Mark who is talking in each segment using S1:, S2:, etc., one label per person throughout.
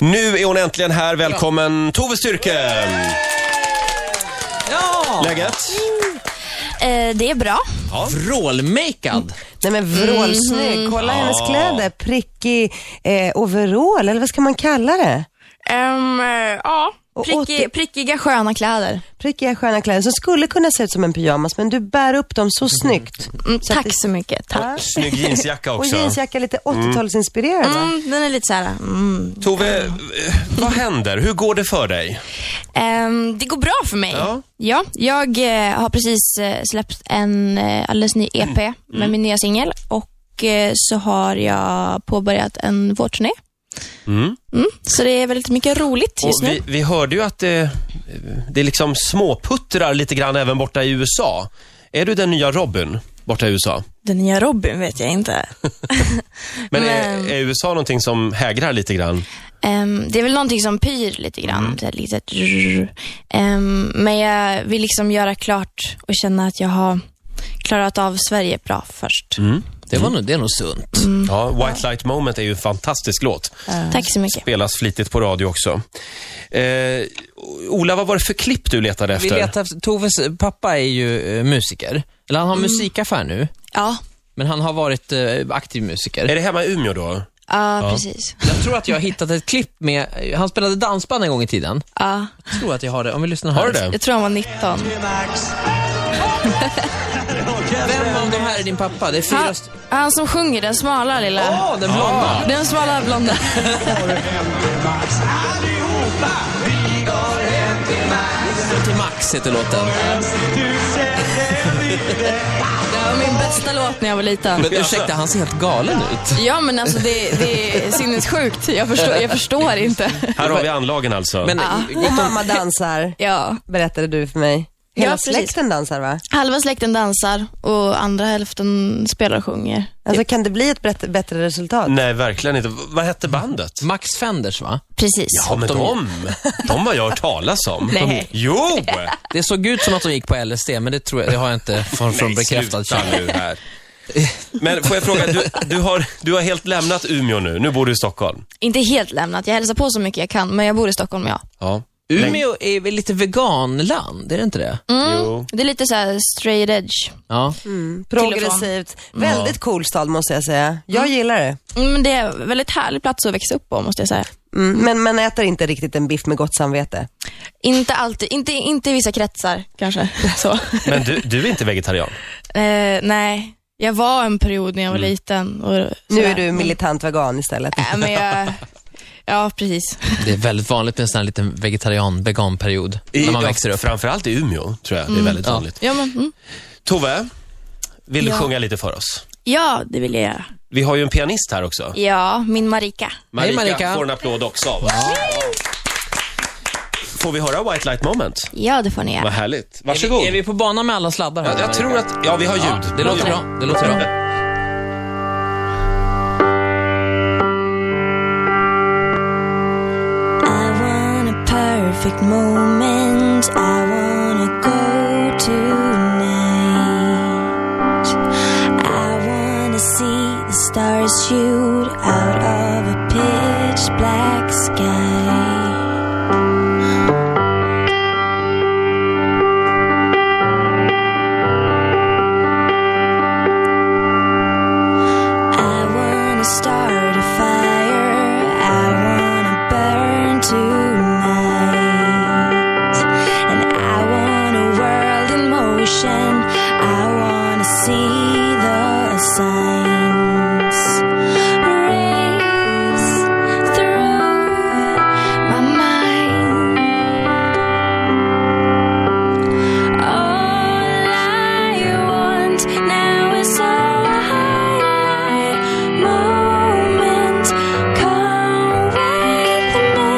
S1: är äntligen här. Välkommen Tove Styrke!
S2: Ja!
S1: Läget?
S3: Eh, det är bra.
S2: Vrålmakead.
S4: Nej men vrålsnygg.
S3: Mhm.
S4: Kolla hennes kläder. Prickig eh, overall, eller vad ska man kalla det?
S3: Ehm, eh, ja,
S4: Och åter-
S3: Prickig, prickiga sköna kläder.
S4: Prickiga sköna kläder som skulle kunna se ut som en pyjamas, men du bär upp dem så snyggt.
S3: Mm, tack så mycket. Tack.
S1: Snygg jeansjacka
S4: Och
S1: också.
S4: jeansjacka lite 80-talsinspirerad va?
S3: Mm, den är lite så här... Mm.
S1: Tove, eh, vad händer? Hur går det för dig?
S3: Ehm, det går bra för mig.
S1: Ja.
S3: Ja. jag eh, har precis eh, släppt en eh, alldeles ny EP
S1: Mm.
S3: med min nya singel och eh, så har jag påbörjat en vårturné. Mm, så det är väldigt mycket roligt
S1: Och
S3: just nu.
S1: vi, vi hörde ju att det, eh, det liksom småputtrar lite grann även borta i USA. Är du den nya Robin borta i USA?
S3: Den nya Robin vet jag inte.
S1: Men,
S3: Men-
S1: Är, är USA någonting som hägrar lite grann?
S3: Ehm, det är väl någonting som pyr lite grann.
S2: Mm.
S3: Så här, lite, Ehm, men jag vill liksom göra klart och känna att jag har klarat av Sverige bra först.
S2: Mm. Det, var nog, det är nog sunt.
S1: Ja, White Light Moment är ju en fantastisk låt.
S3: Eh, Tack så mycket.
S1: Spelas flitigt på radio också. Eh, Ola, vad var det för klipp du letade
S2: Vi
S1: efter?
S2: letar efter, Toves pappa är ju eh, musiker. Eller han har musikaffär nu,
S3: Ja,
S2: men han har varit eh, aktiv musiker.
S1: Är det hemma i Umeå då?
S3: ja, precis.
S2: Jag tror att jag har hittat ett klipp med, eh, han spelade dansband en gång i tiden.
S3: Ja.
S2: Jag tror att jag har det, om vi lyssnar här.
S1: Har du det?
S3: Jag tror han var 19.
S2: Vem av de här är din pappa? Det är fyra
S3: Han,
S2: st-
S3: han som sjunger, den smala lilla.
S2: Åh, den blonda!
S3: Den smala blonda.
S2: Till Max heter låten.
S3: Det var min bästa låt när jag var liten.
S2: Men ursäkta, han ser helt galen ut.
S3: Ja, men alltså det, det är sinnessjukt. Jag förstår, jag förstår inte.
S1: Här har vi anlagen alltså.
S2: Men eh,
S4: Och mamma dansar,
S3: Ja.
S4: berättade du för mig.
S3: Ja,
S4: Hela
S3: precis.
S4: släkten dansar va?
S3: Halva släkten dansar och andra hälften spelar och sjunger.
S4: Alltså kan det bli ett brett- bättre resultat?
S3: Mm.
S1: Nej, verkligen inte. V- Vad hette bandet?
S2: Max Fenders va?
S3: Precis.
S1: Ja, men
S2: de-
S1: de, de har jag hört talas om.
S3: Nej.
S1: Jo!
S2: Det såg ut som att de gick på LSD, men det, tror jag, det har jag inte från, från bekräftad
S1: Sluta
S2: källa.
S1: nu här. Men får jag fråga, du, du, har, du har helt lämnat Umeå nu. Nu bor du i Stockholm.
S3: Inte helt lämnat. Jag hälsar på så mycket jag kan, men jag bor i Stockholm, ja.
S1: Ja.
S2: Umeå är väl lite veganland, är det inte det?
S1: Jo.
S3: Det är lite så här straight edge.
S2: Ja.
S4: Progressivt. Väldigt cool stad måste jag säga. Jag gillar det.
S3: Mm, Men det är en väldigt härlig plats att växa upp på, måste jag säga.
S4: Mm. Men man äter inte riktigt en biff med gott samvete.
S3: Inte alltid, inte, inte i vissa kretsar kanske. Så.
S1: Men du, du är inte vegetarian?
S3: eh, nej, jag var en period när jag var liten. Och
S4: Mm. Nu
S3: sådär.
S4: är du militant vegan istället.
S3: Nej, men jag, ja, precis.
S2: Det är väldigt vanligt med en sån här liten vegetarian-veganperiod när man
S1: ja,
S2: växer upp.
S1: Framförallt i Umeå, tror jag. Det är väldigt
S2: Mm. Ja.
S1: vanligt.
S3: Ja, men, mm.
S1: Tove, vill du
S3: Ja.
S1: sjunga lite för oss?
S3: ja, det vill jag göra.
S1: Vi har ju en pianist här också.
S3: Ja, min Marika.
S1: Marika,
S2: Marika.
S1: får en applåd också av oss. Får vi höra White Light Moment?
S3: Ja, det får ni
S1: Vad
S3: göra.
S1: härligt.
S2: Är
S1: Varsågod.
S2: vi, är vi på banan med alla sladdar här?
S1: Jag, jag tror att... Ja, vi har ljud.
S2: Ja, det låter bra. Det låter bra.
S5: I want a perfect moment. I wanna go tonight. I wanna see the stars shoot out of a pitch black sky. I wanna start a fire. I wanna burn tonight. And I want a world in motion. I wanna see the signs. Race through my mind. All I want now is a highlight moment. Come with me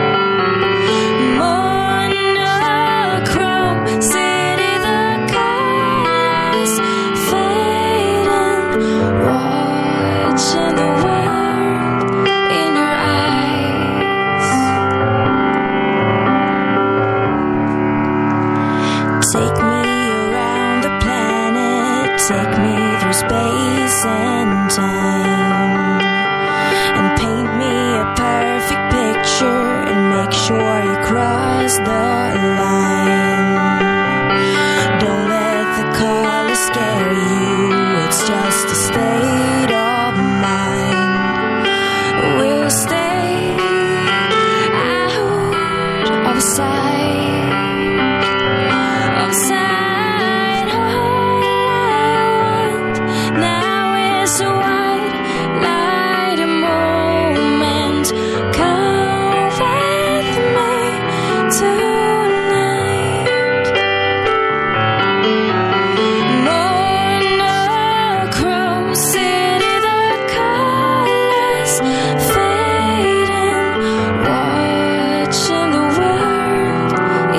S5: tonight. Monochrome city, the colors fading. Watching the world in your eyes. Take me around the planet, take me through space and time. and paint me a perfect picture and make sure you cross the line. Don't let the color scare you, it's just a state of mind. We'll stay out of sight, of sight. All I want now is a white light, a moment. Come with me tonight. Monochrome city, the colors fading. Watching the world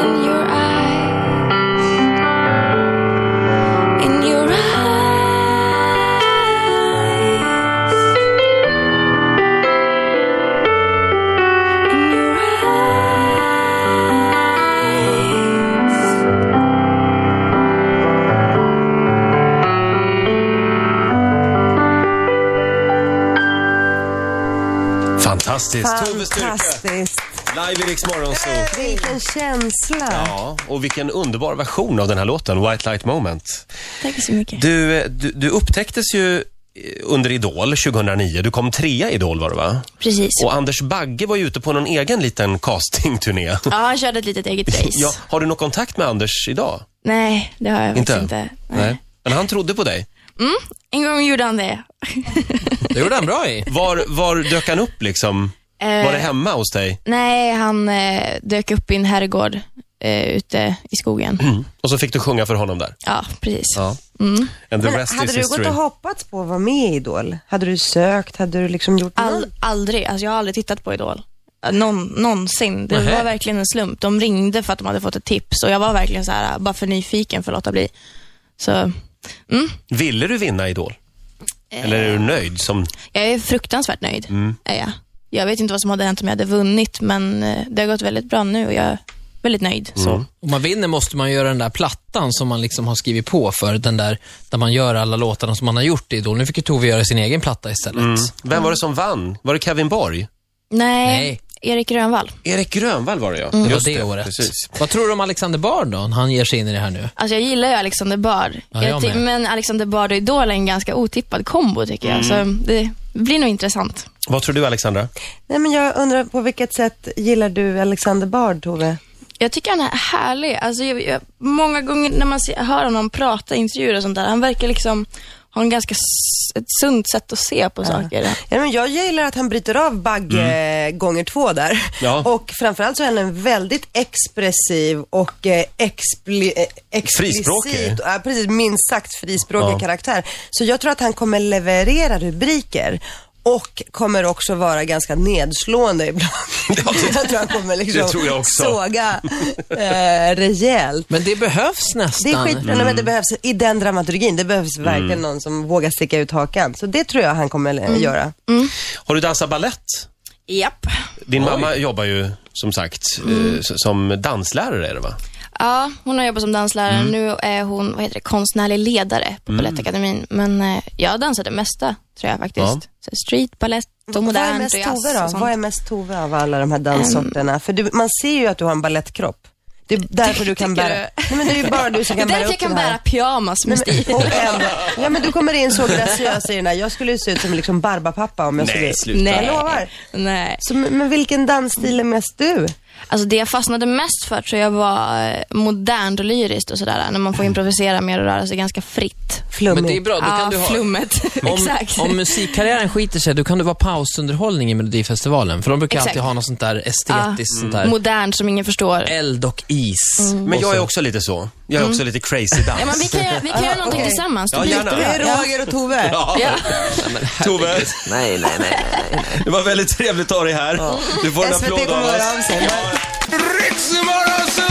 S5: in your eyes, in your eyes, in your eyes.
S1: Fantastiskt. Tove Styrke,
S4: Fantastiskt.
S1: live i Rix Morgonzoo.
S4: Vilken känsla.
S1: Ja, och vilken underbar version av den här låten, White Light Moment.
S3: Tack så mycket.
S1: Du, eh, du, du upptäcktes ju eh, under Idol 2009. Du kom trea i Idol var det va?
S3: Precis.
S1: Och Anders Bagge var ju ute på någon egen liten castingturné.
S3: Ja, han körde ett litet eget race.
S1: Ja, har du någon kontakt med Anders idag?
S3: Nej, det har jag
S1: Inte
S3: faktiskt
S1: än?
S3: inte.
S1: Men han trodde på dig.
S3: En gång gjorde han det.
S2: Det gjorde han bra i.
S1: Var, var dök han upp liksom? Var det hemma hos dig?
S3: Nej, han eh, dök upp i en herrgård eh, ute i skogen.
S1: Och så fick du sjunga för honom där.
S3: Ja, precis.
S1: Ja. And the
S4: Men
S1: rest
S4: hade
S1: is
S4: du gått
S1: history.
S4: och hoppats på att vara med i Idol? Hade du sökt? Hade du liksom gjort något?
S3: All, aldrig, alltså jag har aldrig tittat på Idol. Eh, Någon, någonsin. Det
S1: Nähä.
S3: var verkligen en slump. De ringde för att de hade fått ett tips och jag var verkligen så här, bara för nyfiken för att låta bli. Så mm,
S1: Ville du vinna Idol? Eller är du nöjd som...
S3: jag är fruktansvärt nöjd. Är jag. jag vet inte vad som hade hänt om jag hade vunnit, men eh, det har gått väldigt bra nu och jag är väldigt nöjd. Så.
S2: Om man vinner måste man göra den där plattan som man liksom har skrivit på för, den där, där man gör alla låtarna som man har gjort i Idol. Nu fick ju Tove göra sin egen platta istället.
S1: Vem var det som vann? Var det Kevin Borg?
S3: Nej,
S2: Nej.
S3: Erik Grönvall.
S1: Erik Grönvall var det ja.
S2: Det var Mm. det, året.
S1: Precis.
S2: Vad tror du om Alexander Bard då, när han ger sig in i det här nu?
S3: Alltså jag gillar ju Alexander Bard.
S2: Ja, jag
S3: Jag ty-
S2: med.
S3: men Alexander Bard och Idol är en ganska otippad kombo tycker jag. Så det blir nog intressant.
S1: Vad tror du Alexandra?
S4: Nej, men jag undrar på vilket sätt gillar du Alexander Bard, Tove?
S3: Jag tycker han är härlig. Alltså, jag, jag, många gånger när man se, hör honom prata i intervjuer och sånt där, han verkar liksom ha en ganska s- ett sunt sätt att se på saker.
S4: Ja, men jag gillar att han bryter av Bagge gånger två där.
S1: Mm. Ja.
S4: Och framförallt så är han en väldigt expressiv och eh, expli, eh, explicit.
S1: Frispråkig.
S4: Ja, precis, minst sagt frispråkig karaktär. Så jag tror att han kommer leverera rubriker. Och kommer också vara ganska nedslående ibland. jag tror han kommer liksom
S1: tror jag också.
S4: såga eh, rejält.
S2: Men det behövs
S4: Det är
S2: nästan.
S4: skitbra, men
S1: Mm.
S4: det behövs i den dramaturgin. Det behövs verkligen någon som vågar sticka ut hakan. Så det tror jag han kommer eh,
S1: Mm.
S4: göra.
S1: Har du dansat ballett?
S3: Japp.
S1: Din mamma jobbar ju som sagt eh, s- som danslärare är det va?
S3: Ja, hon har jobbat som danslärare.
S4: Mm.
S3: Nu är hon vad heter det, konstnärlig ledare på Balettakademin. Men eh, jag dansar det mesta, tror jag faktiskt. Så street, balett och
S4: Vad är
S3: modern
S4: mest
S3: och jazz
S4: Tove
S3: och
S4: då?
S3: sånt.
S4: Vad är mest Tove av alla de här danssorterna? För du, man ser ju att du har en ballettkropp. Det är därför du kan
S3: Tycker
S4: bära...
S3: du?
S4: Nej, men det är ju bara du som
S3: Det är
S4: kan bära
S3: därför
S4: upp
S3: jag kan
S4: den här.
S3: bära pyjamas med stil.
S4: Och ändå, ja men du kommer in så graciös i den här. Jag skulle ju se ut som liksom Barbapapa om jag skulle...
S1: sluta.
S4: Jag lovar.
S3: Nej.
S4: Så, men men vilken dansstil är mest du?
S3: Alltså det jag fastnade mest för tror jag var eh, modernt och lyriskt och sådär. När man får improvisera mer och röra sig ganska fritt.
S2: Men det är
S4: Flummig.
S2: bra, då kan
S3: Ja,
S2: du ha...
S3: flummet.
S2: Om,
S3: Exakt.
S2: om musikkarriären skiter sig, då kan du vara pausunderhållning i Melodifestivalen. För de brukar
S3: Exakt. Ah. Mm.
S2: alltid ha något sånt där estetiskt, sånt där
S3: Modernt som ingen förstår.
S2: eld och is.
S1: Mm. Men jag är också lite så. Jag är också lite crazy dans.
S3: Ja, men vi kan, göra- vi kan göra någonting
S4: okej.
S3: tillsammans. Det
S1: Ja,
S3: blir
S1: gärna.
S4: Det
S3: jättebra.
S4: är Roger och Tove.
S3: Ja.
S1: Tove,
S2: Nej, nej, nej.
S1: det var väldigt trevligt att ha dig här. Du får en
S4: SVT
S1: applåd av
S4: kommer
S1: oss.
S4: höra av sig.
S6: Ritzmorgonzoo!